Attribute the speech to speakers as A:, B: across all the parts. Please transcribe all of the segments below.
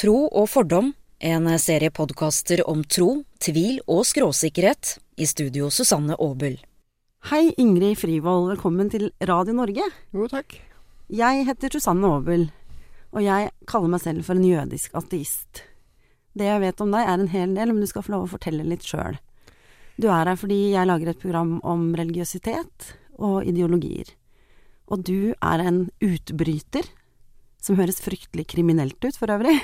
A: Tro og fordom, en serie podkaster om tro, tvil og skråsikkerhet, i studio Susanne Aabel.
B: Hei, Ingrid Frivold. Velkommen til Radio Norge.
C: Jo, takk.
B: Jeg heter Susanne Aabel, og jeg kaller meg selv for en jødisk ateist. Det jeg vet om deg, er en hel del, men du skal få lov å fortelle litt sjøl. Du er her fordi jeg lager et program om religiøsitet og ideologier. Og du er en utbryter, som høres fryktelig kriminelt ut for øvrig.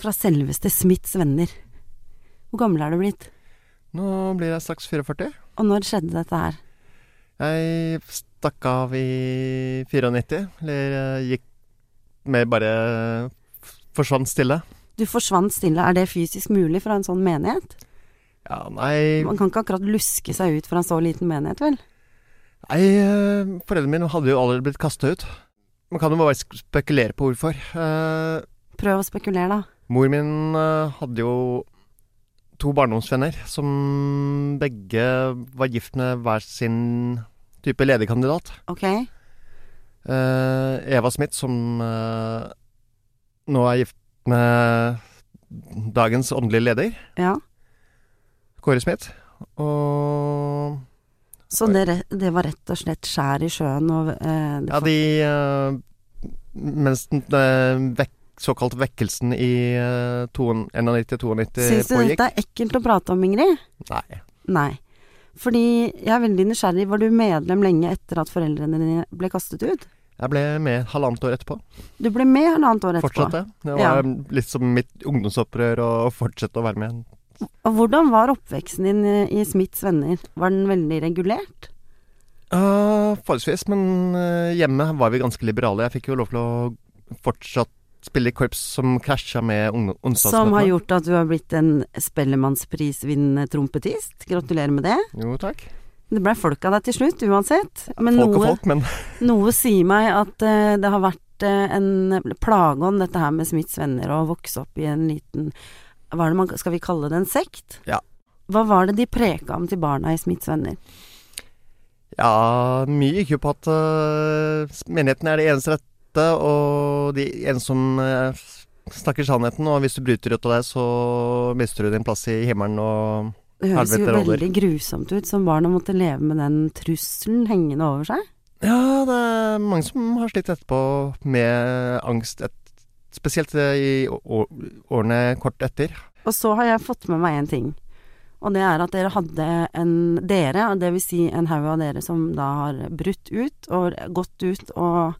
B: Fra selveste Smiths venner. Hvor gammel er du blitt?
C: Nå blir jeg straks 44.
B: Og når skjedde dette her?
C: Jeg stakk av i 94, eller eh, gikk mer bare f- forsvant stille.
B: Du forsvant stille. Er det fysisk mulig fra en sånn menighet?
C: Ja, nei,
B: Man kan ikke akkurat luske seg ut fra en så liten menighet, vel?
C: nei eh, Foreldrene mine hadde jo allerede blitt kasta ut. Man kan jo bare sk- spekulere på hvorfor. Eh,
B: Prøv å spekulere, da.
C: mor min eh, hadde jo to barndomsvenner som begge var gift med hver sin type ledig kandidat.
B: Ok?
C: Eh, Eva Smith, som eh, nå er gift med dagens åndelige leder,
B: Ja.
C: Kåre Smith. Og
B: Så det, re- det var rett og slett skjær i sjøen og eh, det
C: ja, de eh, Mens den eh, vekk, såkalt vekkelsen i eh, 91-92
B: Syns du
C: eh, pågikk
B: dette er ekkelt å prate om, Ingrid?
C: Nei.
B: Nei. Fordi jeg er veldig nysgjerrig. Var du medlem lenge etter at foreldrene dine ble kastet ut?
C: Jeg ble med halvannet år etterpå.
B: Du ble med halvannet år etterpå.
C: Fortsatte. Det var litt som mitt ungdomsopprør å fortsette å være med.
B: Og hvordan var oppveksten din eh, i- i Smiths venner? Var den veldig regulert?
C: Ja, forholdsvis, men eh, hjemme var vi ganske liberale. Jeg fikk jo lov til å fortsatt spille i korps som krasja med ung-
B: Som har
C: onsdagsmøtene.
B: gjort at du har blitt en Spellemannsprisvinnende trompetist. Gratulerer med det.
C: Jo, takk.
B: Det blei folk av deg til slutt, uansett. Men
C: folk og
B: noe,
C: folk, men
B: noe sier meg at eh, det har vært eh, en plageånd, dette her med Smiths venner, og å vokse opp i en liten hva er det man, Skal vi kalle det en sekt?
C: Ja.
B: Hva var det de preka om til barna i Smiths venner?
C: ja, mye gikk jo på at eh, menigheten er det eneste rette, og de en som eh, snakker sannheten, og hvis du bryter ut av det, så mister du din plass i himmelen og
B: Det høres jo
C: Helvete, Roller.
B: veldig grusomt ut, som barna måtte leve med den trusselen hengende over seg.
C: Ja, det er mange som har slitt etterpå med angst, et, spesielt eh, i å- å- årene kort etter.
B: Og så har jeg fått med meg en ting. Og det er at dere hadde en Dere, og det vil si en haug av dere som da har brutt ut og gått ut og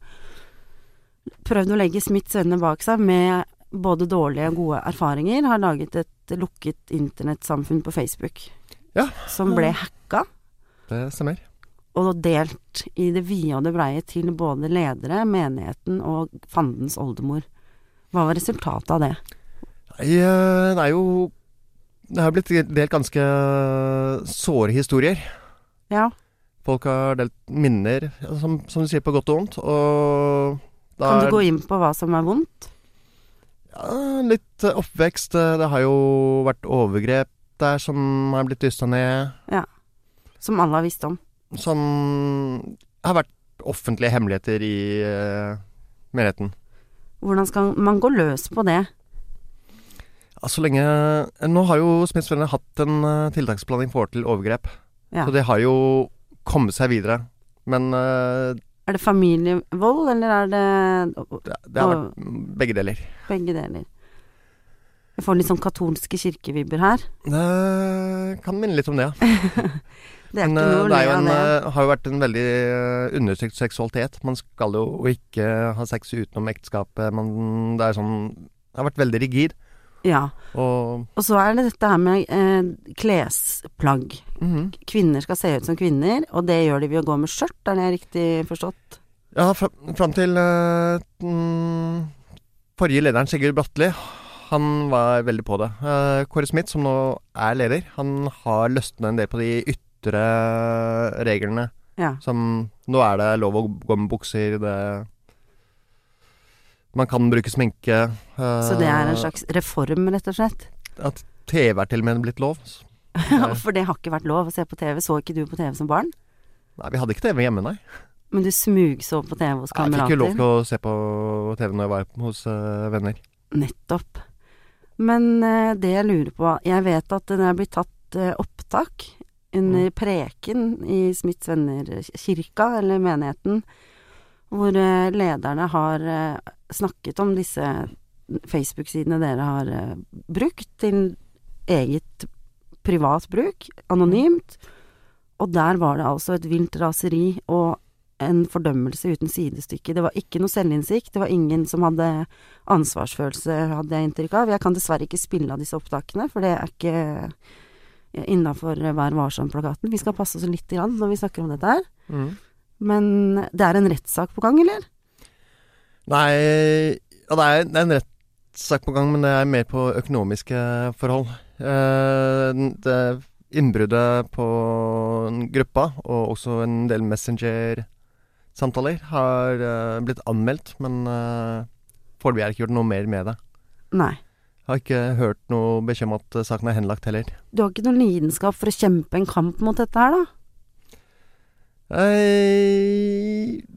B: prøvd å legge Smiths venner bak seg med både dårlige og gode erfaringer, har laget et lukket internettsamfunn på Facebook
C: Ja.
B: som ble hacka
C: Det stemmer.
B: og delt i det vide og det breie til både ledere, menigheten og fandens oldemor. Hva var resultatet av det?
C: Nei, eh, det er jo Det har blitt delt ganske såre historier.
B: Ja,
C: Folk har delt minner, som, som du sier, på godt og vondt. Og da
B: kan
C: er-
B: du gå inn på hva som er vondt?
C: Ja, litt eh, oppvekst. eh, Det har jo vært overgrep der som har blitt dysta ned.
B: Som alle har visst om.
C: Som har vært offentlige hemmeligheter i uh, menigheten.
B: Hvordan skal man gå løs på det?
C: Ja, så lenge Nå har jo Smiths Venner hatt en eh, tiltaksplan i forhold til overgrep.
B: Ja.
C: Så det har jo kommet seg videre. Men eh,
B: Er det familievold, eller er det
C: Det, det har vært begge deler.
B: begge deler? Jeg får litt sånn katolske kirkevibber her.
C: Det kan minne litt om det, ja.
B: Det er
C: Men
B: ikke
C: eh,
B: noe å
C: det
B: le
C: er jo
B: av
C: en,
B: det.
C: eh, har jo vært en veldig eh, undertrykt seksualitet. Man skal jo ikke ha sex utenom ekteskapet. Man, det er sånn Det har vært veldig rigid.
B: Ja.
C: Og
B: Og så er det dette her med eh, klesplagg.
C: mhm.
B: Kvinner skal se ut som kvinner, og det gjør de ved å gå med skjørt, er det riktig forstått?
C: Ja, fra, fram til eh, den forrige lederen, Sigurd Bratteli, han var veldig på det. Eh, Kåre Smith, som nå er leder, han har løsnet en del på de ytre reglene.
B: Ja.
C: Som Nå er det lov å gå med bukser, det Man kan bruke sminke.
B: Så det
C: Eh.
B: er en slags reform, rett og slett.
C: At TV er til og med blitt lov. Nei.
B: For det har ikke vært lov å se på TV. Så ikke du på TV som barn?
C: Nei, vi hadde ikke TV hjemme, nei.
B: Men du smugså på TV hos
C: Jeg fikk jo lov
B: kamerater.
C: til å se på TV når jeg var hos eh, venner.
B: Nettopp. Men eh, det jeg lurer på Jeg vet at det blir tatt eh, opptak under preken i Smiths venner-kirka, eller menigheten, hvor eh, lederne har eh, snakket om disse Facebook-sidene dere har eh, brukt til eget privat bruk, anonymt. Og der var det altså et vilt raseri og en fordømmelse uten sidestykke. Det var ikke noe selvinnsikt, det var ingen som hadde ansvarsfølelse, hadde jeg inntrykk av. Jeg kan dessverre ikke spille av disse opptakene, for det er ikke eh, innafor Vær varsom-plakaten. Vi skal passe oss lite grann når vi snakker om dette her.
C: Mm.
B: Men det er en rettssak på gang, eller?
C: Nei, ja, det er, det er en rettssak på gang, men det er mer på økonomiske forhold. Eh, det innbruddet på en gruppa, og også en del Messenger-samtaler, har eh, blitt anmeldt, men eh, foreløpig er det ikke gjort noe mer med det.
B: Nei.
C: Jeg har ikke hørt noe beskjed om at eh, saken er henlagt heller.
B: Du har ikke noen lidenskap for å kjempe en kamp mot dette her, da?
C: Eh,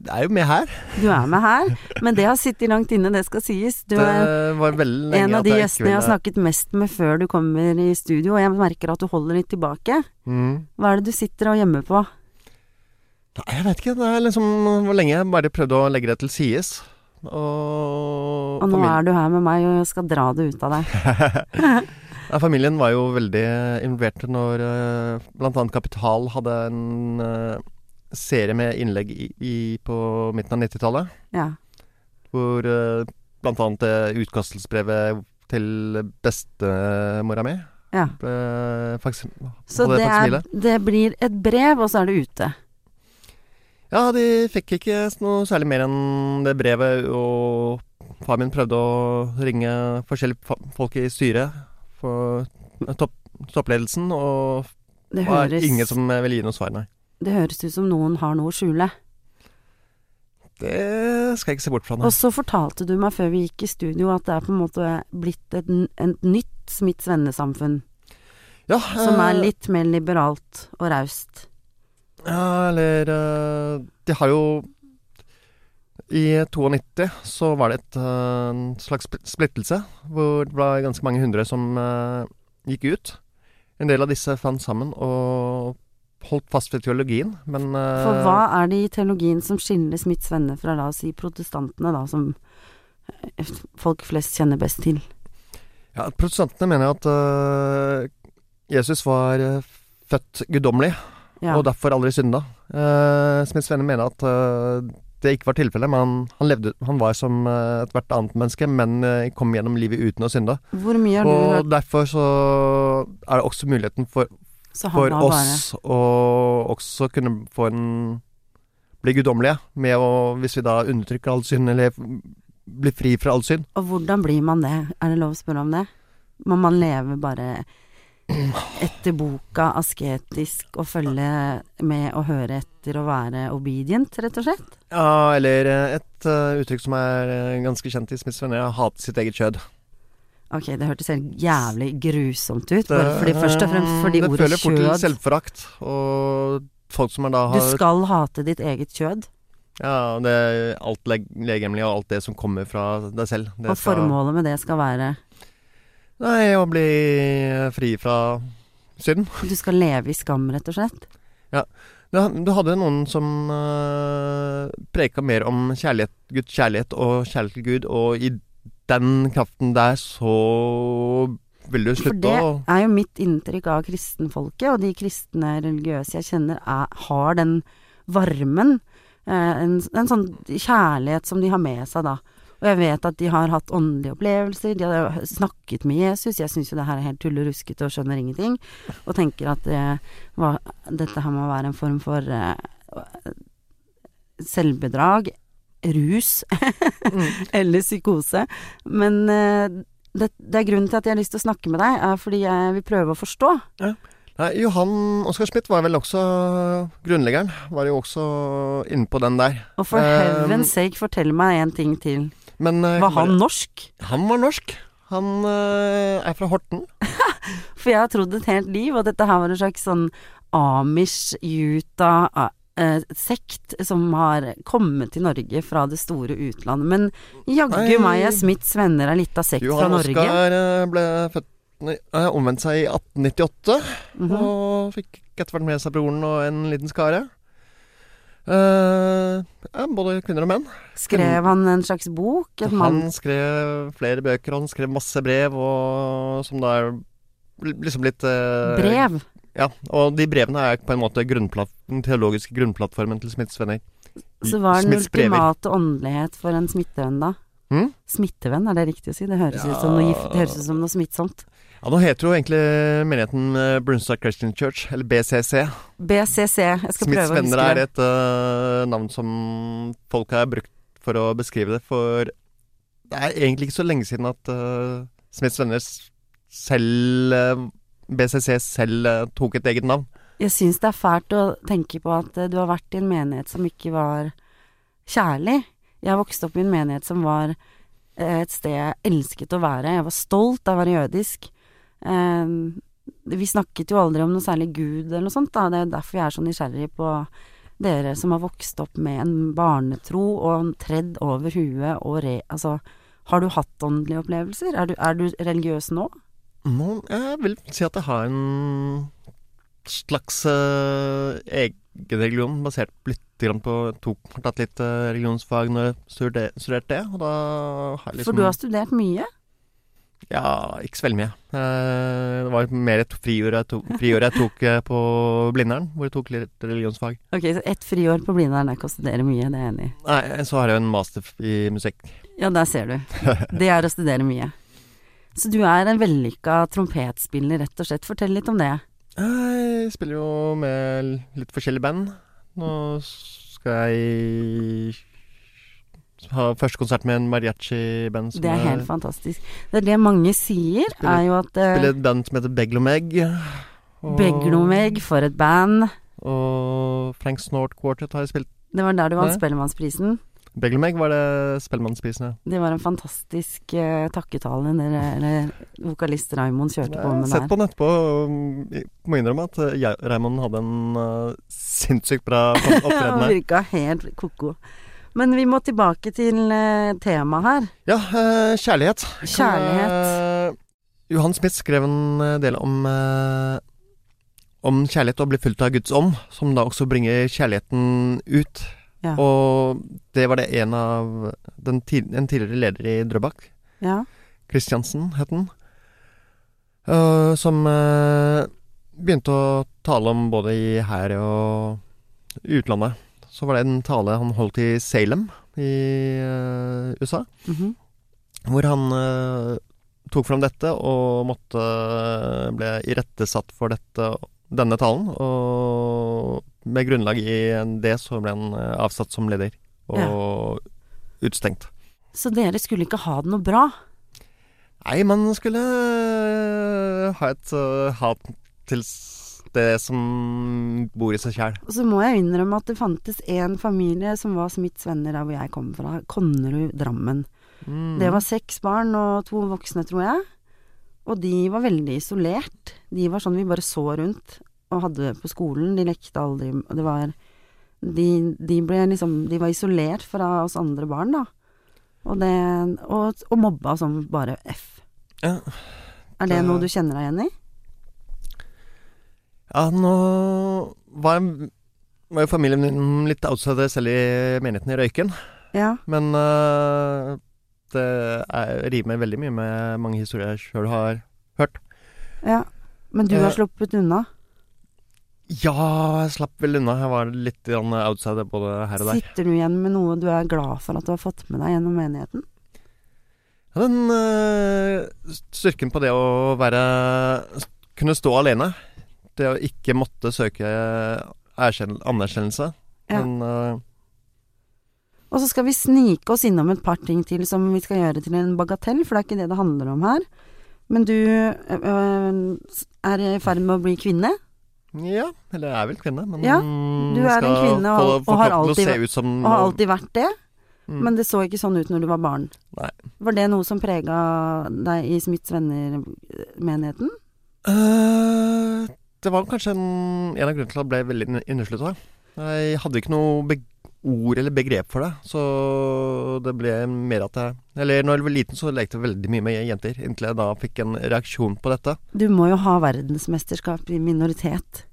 C: det er jo med her.
B: Du er med her, men det har sittet langt inne, det skal sies. Du
C: Det
B: er
C: var veldig lenge
B: en av
C: at
B: de
C: jeg ikke
B: gjestene jeg har
C: ville-
B: snakket mest med før du kommer i studio, og jeg merker at du holder litt tilbake.
C: Mm.
B: Hva er det du sitter og gjemmer på?
C: Nei, jeg vet ikke. Det er liksom hvor lenge jeg bare prøvde å legge det til sides. Og,
B: Og nå
C: familien,
B: er du her med meg, og jeg skal dra det ut av deg.
C: Nei, familien var jo veldig involvert når eh, blant annet Kapital hadde en eh, serie med innlegg i, i, på midten av 90-tallet.
B: Ja.
C: Hvor eh, blant annet det utkastelsesbrevet til bestemora mi
B: Ja.
C: ble faks-
B: Så
C: hadde
B: det, er,
C: faksimilet.
B: det blir et brev, og så er det ute.
C: Ja, de fikk ikke noe særlig mer enn det brevet, og far min prøvde å ringe forskjellige fa- folk i styret for topp, toppledelsen, og
B: Det
C: det var
B: høres,
C: ingen som ville gi noe svar, nei.
B: det høres ut som noen har noe å skjule.
C: Det skal jeg ikke se bort fra,
B: Og
C: nei.
B: så fortalte du meg før vi gikk i studio at det er på en måte blitt et, n- et nytt Smiths vennesamfunn,
C: Ja,
B: som er
C: eh,
B: litt mer liberalt og raust.
C: Ja, eller eh, De har jo I 92 så var det et, eh, en slags spl- splittelse, hvor det var ganske mange hundre som eh, gikk ut. En del av disse fant sammen og holdt fast ved teologien, men eh,
B: For hva er det i teologien som skiller Smiths venner fra, la oss si, protestantene, da, som eh, folk flest kjenner best til?
C: ja, Protestantene mener at eh, Jesus var eh, født guddommelig,
B: Ja.
C: og derfor aldri synda. Uh, Smiths venner mener at eh, det ikke var tilfellet, men han, han, levde, han var som eh, ethvert annet menneske, men eh, kom gjennom livet uten å synde.
B: Hvor mye har du hørt?
C: Og derfor så er det også muligheten for,
B: Så han
C: for
B: har bare
C: oss å også kunne få en bli guddommelige, med å, hvis vi da undertrykker all synd, eller blir fri fra all synd.
B: Og hvordan blir man det? Er det lov å spørre om det? Må man leve bare etter boka, asketisk, og følge med og høre etter og være obedient, rett og slett?
C: Ja, eller eh, et eh, uttrykk som er eh, ganske kjent i Smiths venner, er hate sitt eget kjød.
B: Ok, det hørtes helt jævlig grusomt ut, bare fordi, først og fremst fordi
C: eh, det
B: ordet
C: føler fort til
B: kjød
C: selvforakt, og folk som er da
B: Du
C: har
B: skal hate ditt eget kjød,
C: Ja, det er alt leg legemlig, og alt det som kommer fra deg selv. Det
B: og formålet med det skal være
C: Nei, å bli eh, fri fra synd.
B: Du skal leve i skam, rett og slett.
C: Du, du hadde noen som uh, preka mer om kjærlighet, Guds kjærlighet og kjærlighet til Gud, og i den kraften der så ville du
B: For
C: slutte
B: det
C: å
B: er jo mitt inntrykk av kristenfolket, og de kristne religiøse jeg kjenner, er, har den varmen, eh, en, en sånn kjærlighet som de har med seg da. Og jeg vet at de har hatt åndelige opplevelser, de har snakket med Jesus, jeg syns jo det her er helt tulleruskete og skjønner ingenting, og tenker at eh, hva, dette her må være en form for eh, selvbedrag, rus eller psykose. Men eh, det, det er grunnen til at jeg har lyst til å snakke med deg, er fordi jeg vil prøve å forstå.
C: Nei, Johan Oskar Schmidt var vel også grunnleggeren. Var jo også inne på den der.
B: Og for
C: Um,
B: heaven's sake, fortell meg en ting til.
C: Men eh,
B: Var han norsk?
C: han var norsk. Han eh, er fra Horten.
B: For jeg har trodd et helt liv at dette her var en slags sånn Amish, Utah, eh, sekt som har kommet til Norge fra det store utlandet. Men
C: Nei.
B: jaggu meg er Smiths venner er litt av sekt fra
C: Johan
B: Norge.
C: Oskar eh, ble født, nei, eh, omvendt seg i 1898.
B: Mhm.
C: Og fikk etter hvert med seg broren og en liten skare. Eh, ja, både kvinner og menn.
B: Skrev han en slags bok? Et
C: Han eh,
B: mann?
C: skrev flere bøker, og han skrev masse brev, og, som da er bl- liksom litt eh,
B: Brev?
C: Ja, og de brevene er på en måte grunnplat, den teologiske grunnplattformen til Smiths venner.
B: Så hva er den
C: Smiths brever.
B: ultimate åndelighet for en smittevenn, da?
C: Hm?
B: Smittevenn, er det riktig å si? Det høres, ut, som noe gift, det høres ut som noe smittsomt.
C: Ja, Nå heter jo egentlig menigheten eh, Brunstad Christian Church, eller BCC.
B: BCC, jeg skal
C: Smiths
B: prøve å
C: venner
B: huske
C: er
B: det.
C: et eh, navn som folk har brukt for å beskrive det, for det er egentlig ikke så lenge siden at eh, Smiths venner s- selv eh, BCC selv eh, tok et eget navn.
B: Jeg syns det er fælt å tenke på at eh, du har vært i en menighet som ikke var kjærlig. Jeg vokste opp i en menighet som var eh, et sted jeg elsket å være. Jeg var stolt av å være jødisk. Eh, Vi snakket jo aldri om noe særlig Gud eller noe sånt, da. Det er jo derfor jeg er så nysgjerrig på dere som har vokst opp med en barnetro og en tredd over huet og re... Altså, har du hatt åndelige opplevelser? Er du, er du religiøs nå?
C: Nå, jeg vil si at jeg har en slags eh, egen religion, basert litt grann på tok, Har tatt litt eh, religionsfag når jeg studer- studerte det, og da har jeg liksom
B: For du har studert mye.
C: Ja, ikke så veldig mye. Eh, Det var mer et friår jeg tok, friår jeg tok eh, på Blindern, hvor jeg tok litt religionsfag.
B: Ok, så ett friår på Blindern er ikke å studere mye, det er jeg enig i.
C: Nei, så har jeg jo en master i musikk.
B: Ja, der ser du. Det er å studere mye. Så du er en vellykka trompetspiller, rett og slett. Fortell litt om det.
C: Eh, Jeg spiller jo med litt forskjellige band. Nå skal jeg ha første konsert med en mariachi-band som
B: Det er helt fantastisk. Det er det mange sier, er jo at
C: Spiller
B: eh,
C: et band som heter Beglomeg. Og-
B: Beglomeg, for et band.
C: Og Frank Snort Quartet har jeg spilt.
B: Det var der du vant
C: Nei.
B: Spellemannsprisen.
C: Beglomeg var det Spellemannsprisene.
B: Det var en fantastisk eh, takketale dere, eller vokalist Raymond kjørte på
C: Jeg har
B: med der.
C: sett på den etterpå og jeg må innrømme at eh, jeg- Raymond hadde en eh, sinnssykt bra opptreden
B: Og
C: her.
B: virka helt ko-ko. Men vi må tilbake til eh, temaet her.
C: Ja, eh, kjærlighet.
B: Kjærlighet.
C: Eh, Johan Smith skrev en eh, del om eh, om kjærlighet og ble fulgt av Guds ånd, som da også bringer kjærligheten ut.
B: Ja.
C: Og det var det en av den tid, En tidligere leder i Drøbak
B: Ja.
C: Kristiansen het den. Eh, som eh, begynte å tale om både i her og i utlandet. Så var det en tale han holdt i Salem i eh, USA,
B: mhm.
C: hvor han eh, tok fram dette og måtte eh, ble irettesatt for dette, denne talen. Og med grunnlag i det så ble han eh, avsatt som leder og utstengt.
B: Så dere skulle ikke ha det noe bra?
C: Nei, man skulle øh, ha et øh, hat til s- det som bor i seg sjæl.
B: Og så må jeg innrømme at det fantes en familie som var Smiths venner der hvor jeg kom fra, Konnerud Drammen.
C: Mm.
B: Det var seks barn og to voksne, tror jeg. Og de var veldig isolert. De var sånn vi bare så rundt og hadde på skolen. De lekte aldri og Det var de, de ble liksom De var isolert fra oss andre barn, da. Og, det, og, og mobba som bare F.
C: Ja.
B: Er det
C: Det-
B: noe du kjenner deg igjen i?
C: Ja, nå var, jeg- var jo familien min litt outsider selv i menigheten i Røyken.
B: Ja.
C: Men øh, det er- rimer veldig mye med mange historier jeg sjøl har hørt.
B: ja. Men du
C: Eh,
B: har sluppet unna?
C: Ja, jeg slapp vel unna. Jeg var litt grann outsider både her og der.
B: Sitter du igjen med noe du er glad for at du har fått med deg gjennom menigheten?
C: Ja, Den øh, styrken på det å være Kunne stå alene. Det å ikke måtte søke erkjenn- anerkjennelse.
B: Ja.
C: Men øh,
B: Og så skal vi snike oss innom et par ting til som vi skal gjøre til en bagatell, for det er ikke det det handler om her. Men du øh, er i ferd med å bli kvinne.
C: ja. Eller jeg er vel kvinne, men mm,
B: Ja, du er en kvinne og-
C: få,
B: og
C: få
B: har
C: kroppen
B: alltid
C: til å se ut som
B: Og har alltid vært det,
C: Mm.
B: men det så ikke sånn ut når du var barn.
C: Nei.
B: Var det noe som prega deg i Smiths eh, venner-menigheten?
C: Eh, Øh, Det var kanskje en, en av grunnene til at jeg ble veldig inneslutta. Jeg hadde ikke noe beg ord eller begrep for det, så det ble mer at jeg Eller når jeg var liten, så lekte jeg veldig mye med jenter, inntil jeg da fikk en reaksjon på dette.
B: Du må jo ha verdensmesterskap i minoritet.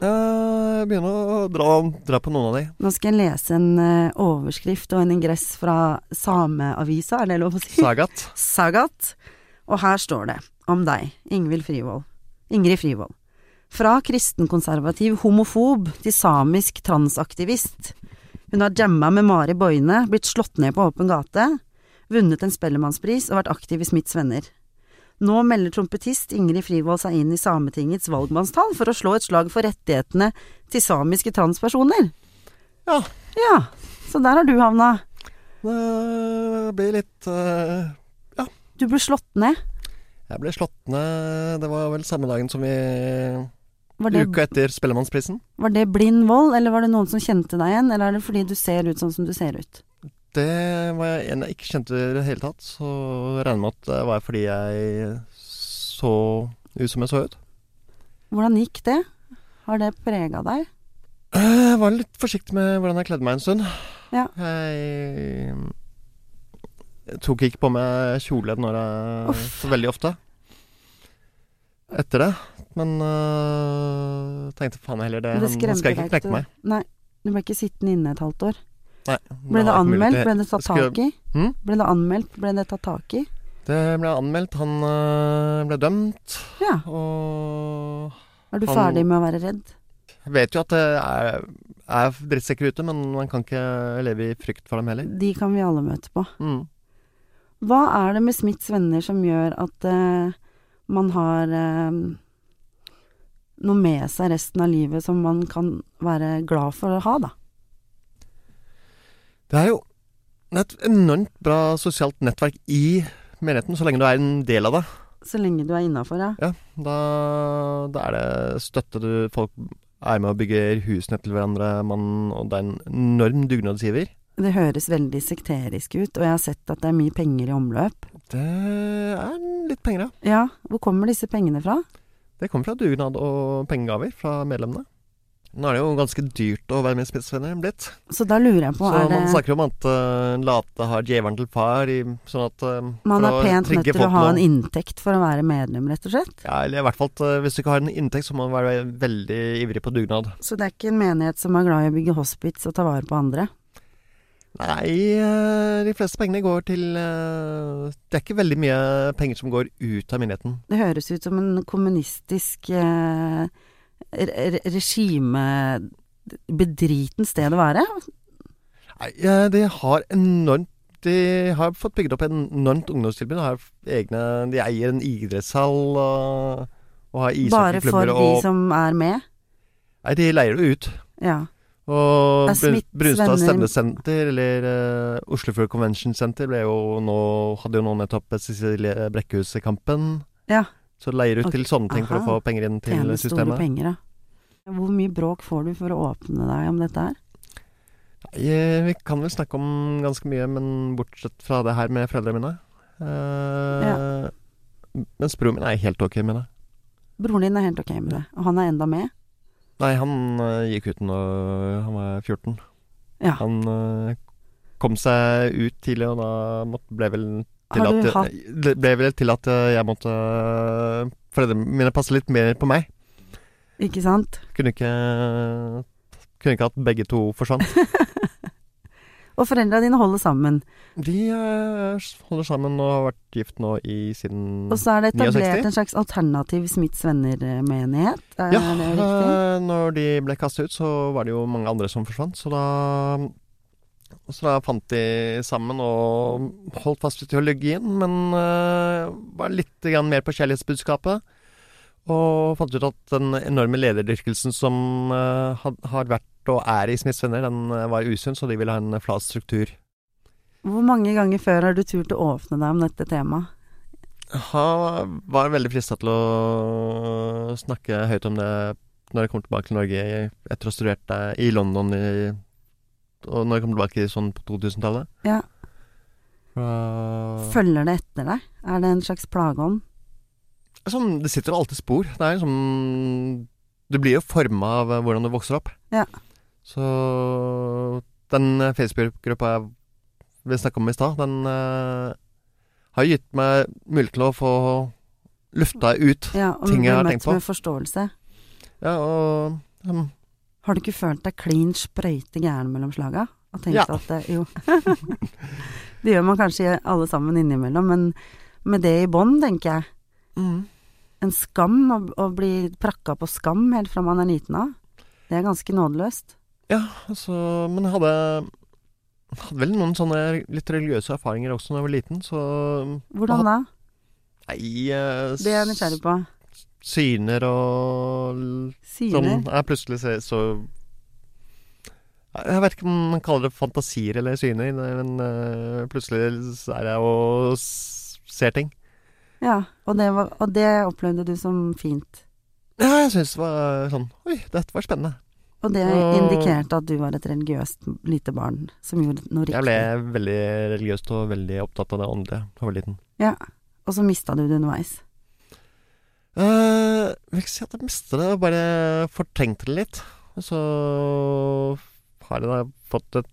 C: Eh, Jeg begynner å dra, dra på noen av de.
B: Nå skal jeg lese en eh, overskrift og en ingress fra Sameavisa, er det lov å si?
C: Sagat.
B: Sagat. Og her står det om deg, Ingvild Frivold. Ingrid Frivold. Fra kristenkonservativ homofob til samisk transaktivist. Hun har jamma med Mari Boine, blitt slått ned på åpen gate, vunnet en Spellemannspris og vært aktiv i Smiths venner. Nå melder trompetist Ingrid Frivold seg inn i Sametingets valgmannstall for å slå et slag for rettighetene til samiske transpersoner.
C: Ja.
B: Ja, så der har du havna.
C: Det Eh, blir litt eh,
B: Du ble slått ned.
C: Jeg ble slått ned Det var vel samme dagen som vi
B: Var det
C: Uka etter Spellemannsprisen.
B: Var det blind vold, eller var det noen som kjente deg igjen, eller er det fordi du ser ut sånn som du ser ut?
C: Det var jeg en jeg ikke kjente i det hele tatt, så jeg regner med at det var fordi jeg så ut som jeg så ut.
B: Hvordan gikk det? Har det prega deg?
C: Jeg Eh, var litt forsiktig med hvordan jeg kledde meg en stund.
B: Ja.
C: Jeg jeg tok ikke på meg kjole når jeg så veldig ofte etter det. Men øh, tenkte faen heller det.
B: Men det
C: han-
B: skremte
C: han skal ikke
B: deg
C: knekke
B: ikke?
C: meg.
B: Nei. Du ble ikke sittende inne et halvt år.
C: Nei,
B: Ble det
C: var ikke mulig.
B: anmeldt? Ble det tatt
C: Skulle-
B: tak i?
C: Hm?
B: Ble det anmeldt? Ble det tatt tak i?
C: Det ble anmeldt. Han øh, ble dømt.
B: Ja.
C: Og
B: Er du
C: Han-
B: ferdig med å være redd?
C: jeg vet jo at det er, er drittsekker ute, men man kan ikke leve i frykt for dem heller.
B: De kan vi alle møte på.
C: Mm.
B: Hva er det med Smiths venner som gjør at eh, man har eh, noe med seg resten av livet som man kan være glad for å ha, da?
C: Det er jo et enormt bra sosialt nettverk i menigheten, så lenge du er en del av det.
B: Så lenge du er innafor, ja.
C: Da, da er det støtte du Folk er med og bygger husene til hverandre, man, og det er en enorm dugnadsgiver.
B: Det høres veldig sekterisk ut, og jeg har sett at det er mye penger i omløp.
C: Det er litt penger, ja.
B: Ja, hvor kommer disse pengene fra?
C: Det kommer fra dugnad og pengegaver fra medlemmene. Nå er det jo ganske dyrt å være med i Spitsvenner blitt.
B: Så da lurer jeg på,
C: Så
B: er det
C: man snakker om at eh, late har djevelen til far, i, sånn at eh,
B: man
C: for
B: er
C: å
B: pent
C: trigge
B: nødt til å
C: folk
B: ha
C: nå.
B: en inntekt for å være medlem, rett og slett?
C: Ja, eller i hvert fall at eh, hvis du ikke har en inntekt, så må du være veldig ivrig på dugnad.
B: Så det er ikke en menighet som er glad i å bygge hospits og ta vare på andre?
C: Nei, eh, de fleste pengene går til eh, Det er ikke veldig mye penger som går ut av myndigheten.
B: Det høres ut som en kommunistisk eh, re- re- regime bedriten sted å være.
C: Nei, eh, de har enormt De har fått bygd opp en enormt ungdomstilbud. De, har egne, de eier en idrettshall og, og har
B: Bare for
C: ishockeyklubber
B: de
C: og
B: som er med.
C: Nei, de leier det ut.
B: Ja.
C: Og
B: Det er
C: Brun-
B: Smiths
C: Brunstad
B: venner.
C: stemnesenter, eller uh, Oslofjord Convention Center, ble jo nå, hadde jo nå nettopp Cecilie Brekkhus-kampen.
B: Ja.
C: Så leier ut
B: Ok,
C: til sånne ting for å
B: aha.
C: få penger inn til
B: Tjene store
C: systemet.
B: penger, ja. Hvor mye bråk får du for å åpne deg om dette her?
C: Jeg, Eh, vi kan vel snakke om ganske mye, men bortsett fra det her med foreldrene mine. Eh, Mens broren min er helt ok med det.
B: Broren din er helt ok med det, og han er enda med?
C: Nei, han eh, gikk ut når han var 14.
B: Ja.
C: Han eh, kom seg ut tidlig, og da måtte, ble vel til
B: Har du
C: at,
B: hatt
C: Det ble vel til at eh, jeg måtte Foreldrene mine passet litt mer på meg.
B: Ikke sant?
C: Kunne ikke Kunne ikke at begge to forsvant.
B: Og foreldra dine holder sammen.
C: De eh, holder sammen og har vært gift nå i siden
B: Og så er det etablert
C: 69?
B: en slags alternativ Smiths venner-menighet. Er
C: Ja,
B: det riktig?
C: eh, når de ble kastet ut, så var det jo mange andre som forsvant, så da så da fant de sammen og holdt fast ved teologien, men eh, var litt grann mer på kjærlighetsbudskapet. Og fant ut at den enorme lederdyrkelsen som eh, had, har vært og er i Smiths venner, den eh, var usunn, så de ville ha en flat struktur.
B: Hvor mange ganger før har du turt å åpne deg om dette temaet?
C: Han var veldig frista til å snakke høyt om det når jeg kom tilbake til Norge etter å ha studert der i London i, og når jeg kom tilbake i sånn på 2000-tallet.
B: Ja.
C: Fra-
B: Følger det etter deg? Er det en slags plageånd?
C: sånn, det sitter jo alltid spor. Det er liksom Du blir jo forma av hvordan du eh, vokser opp.
B: Ja.
C: Så den eh, Facebook-gruppa jeg vi snakka om i stad, den eh, har gitt meg mulighet til å få lufta ut.
B: Ja, og
C: Ting
B: blir
C: jeg har
B: møtt
C: tenkt på.
B: med forståelse.
C: Ja, og hm,
B: Har du ikke følt deg klin sprøyte gæren mellom slaga? Og tenkt
C: Ja.
B: at det, jo Det gjør man kanskje alle sammen innimellom, men med det i bånn, tenker jeg.
C: mm,
B: En skam, å, å bli prakka på skam helt fra man er liten av. Det er ganske nådeløst.
C: Så, altså, men jeg hadde, hadde vel noen sånne litt religiøse erfaringer også da jeg var liten, så
B: Hvordan da?
C: Nei eh,
B: Det er jeg nysgjerrig på.
C: Syner og l-
B: Syner.
C: Sånn jeg plutselig ser så Jeg vet ikke om man kaller det fantasier eller syner, men eh, plutselig så er jeg og s- ser ting.
B: Ja, og det, var, og det opplevde du som fint.
C: Ja, jeg syns det var sånn Oi, dette var spennende.
B: Og det
C: Og-
B: indikerte at du var et religiøst lite barn som gjorde noe
C: Jeg ble
B: riktig.
C: veldig religiøst og veldig opptatt av det åndelige da jeg var liten.
B: Ja. Og så mista du det underveis.
C: Eh, Jeg vil ikke si at jeg mistet det, jeg bare fortrengte det litt. Og Så har jeg da fått et,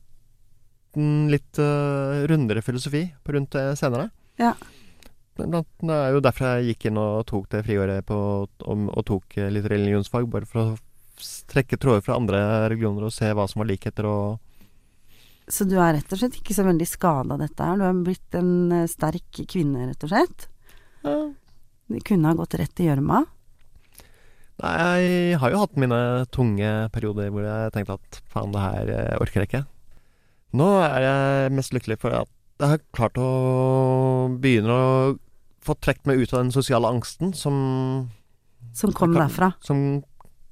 C: en litt eh, rundere filosofi på rundt det senere.
B: Ja.
C: Blant- Det er jo derfor jeg gikk inn og tok det friåret på, om, og tok eh, litt religionsfag, bare for å s- trekke tråder fra andre religioner og se hva som var likheter og
B: Så du er rett og slett ikke så veldig skada dette her. Du er blitt en eh, sterk kvinne, rett og slett. Du kunne ha gått rett i gjørma.
C: Nei, jeg har jo hatt mine tunge perioder hvor jeg tenkte at faen, det her eh, orker jeg ikke. Nå er jeg mest lykkelig for at jeg har klart å begynne å få trukket meg ut av den sosiale angsten som,
B: Som kom
C: Jeg kan-
B: derfra.
C: som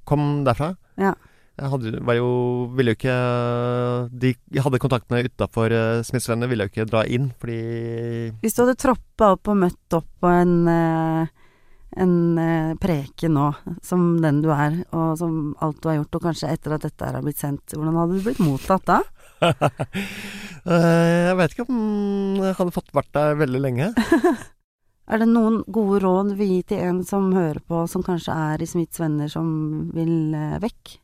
C: kom derfra.
B: Ja.
C: Jeg hadde, var jo, ville jo ikke De jeg hadde kontaktene utafor Smittsvennene, eh, ville jo ikke dra inn fordi
B: Hvis du hadde troppa opp og møtt opp på en, eh, en eh, preke nå, som den du er, og som alt du har gjort, og kanskje etter at dette her har blitt sendt, hvordan hadde du blitt mottatt da?
C: Eh, Jeg vet ikke om jeg hadde fått vært der veldig lenge.
B: Er det noen gode råd vi gir til en som hører på, som kanskje er i Smiths venner, som vil eh, vekk?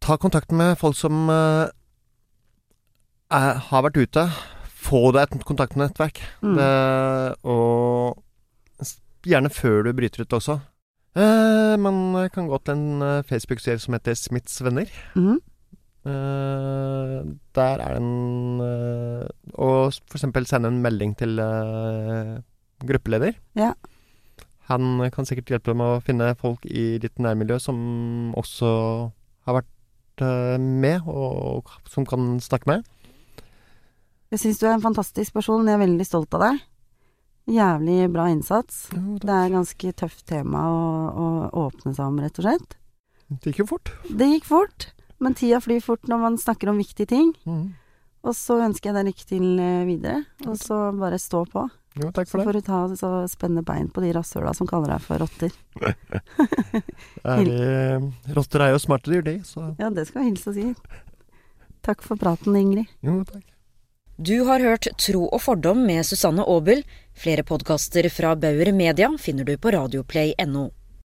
C: ta kontakt med folk som eh, er, har vært ute. Få deg et kontaktnettverk.
B: Mm.
C: Det- og s- gjerne før du bryter ut også. Eh, man kan gå til en eh, Facebook-serie som heter Smiths venner.
B: Mhm.
C: Eh, der er det en eh, Og for eksempel sende en melding til eh, gruppeleder.
B: Ja.
C: Han kan sikkert hjelpe deg med å finne folk i ditt nærmiljø som også har vært eh, med, og som kan snakke med.
B: Jeg syns du er en fantastisk person, jeg er veldig stolt av deg. Jævlig bra innsats. Det er et ganske tøft tema å, å åpne seg om, rett og slett.
C: Det gikk jo fort.
B: Det gikk fort, men tida flyr fort når man snakker om viktige ting.
C: Mhm.
B: Og så ønsker jeg deg lykke til eh, videre, og så bare stå på.
C: Jo, takk
B: Så
C: for det.
B: får du ta så spenne bein på de rasshøla som kaller deg for rotter.
C: Er vi, rotter er jo smarte dyr, de, så
B: Ja, det skal jeg hilse og si. Takk for praten, Ingrid.
C: jo, takk.
A: Du har hørt Tro og fordom med Susanne Aabel. Flere podkaster fra Bauer Media finner du på radioplay.no.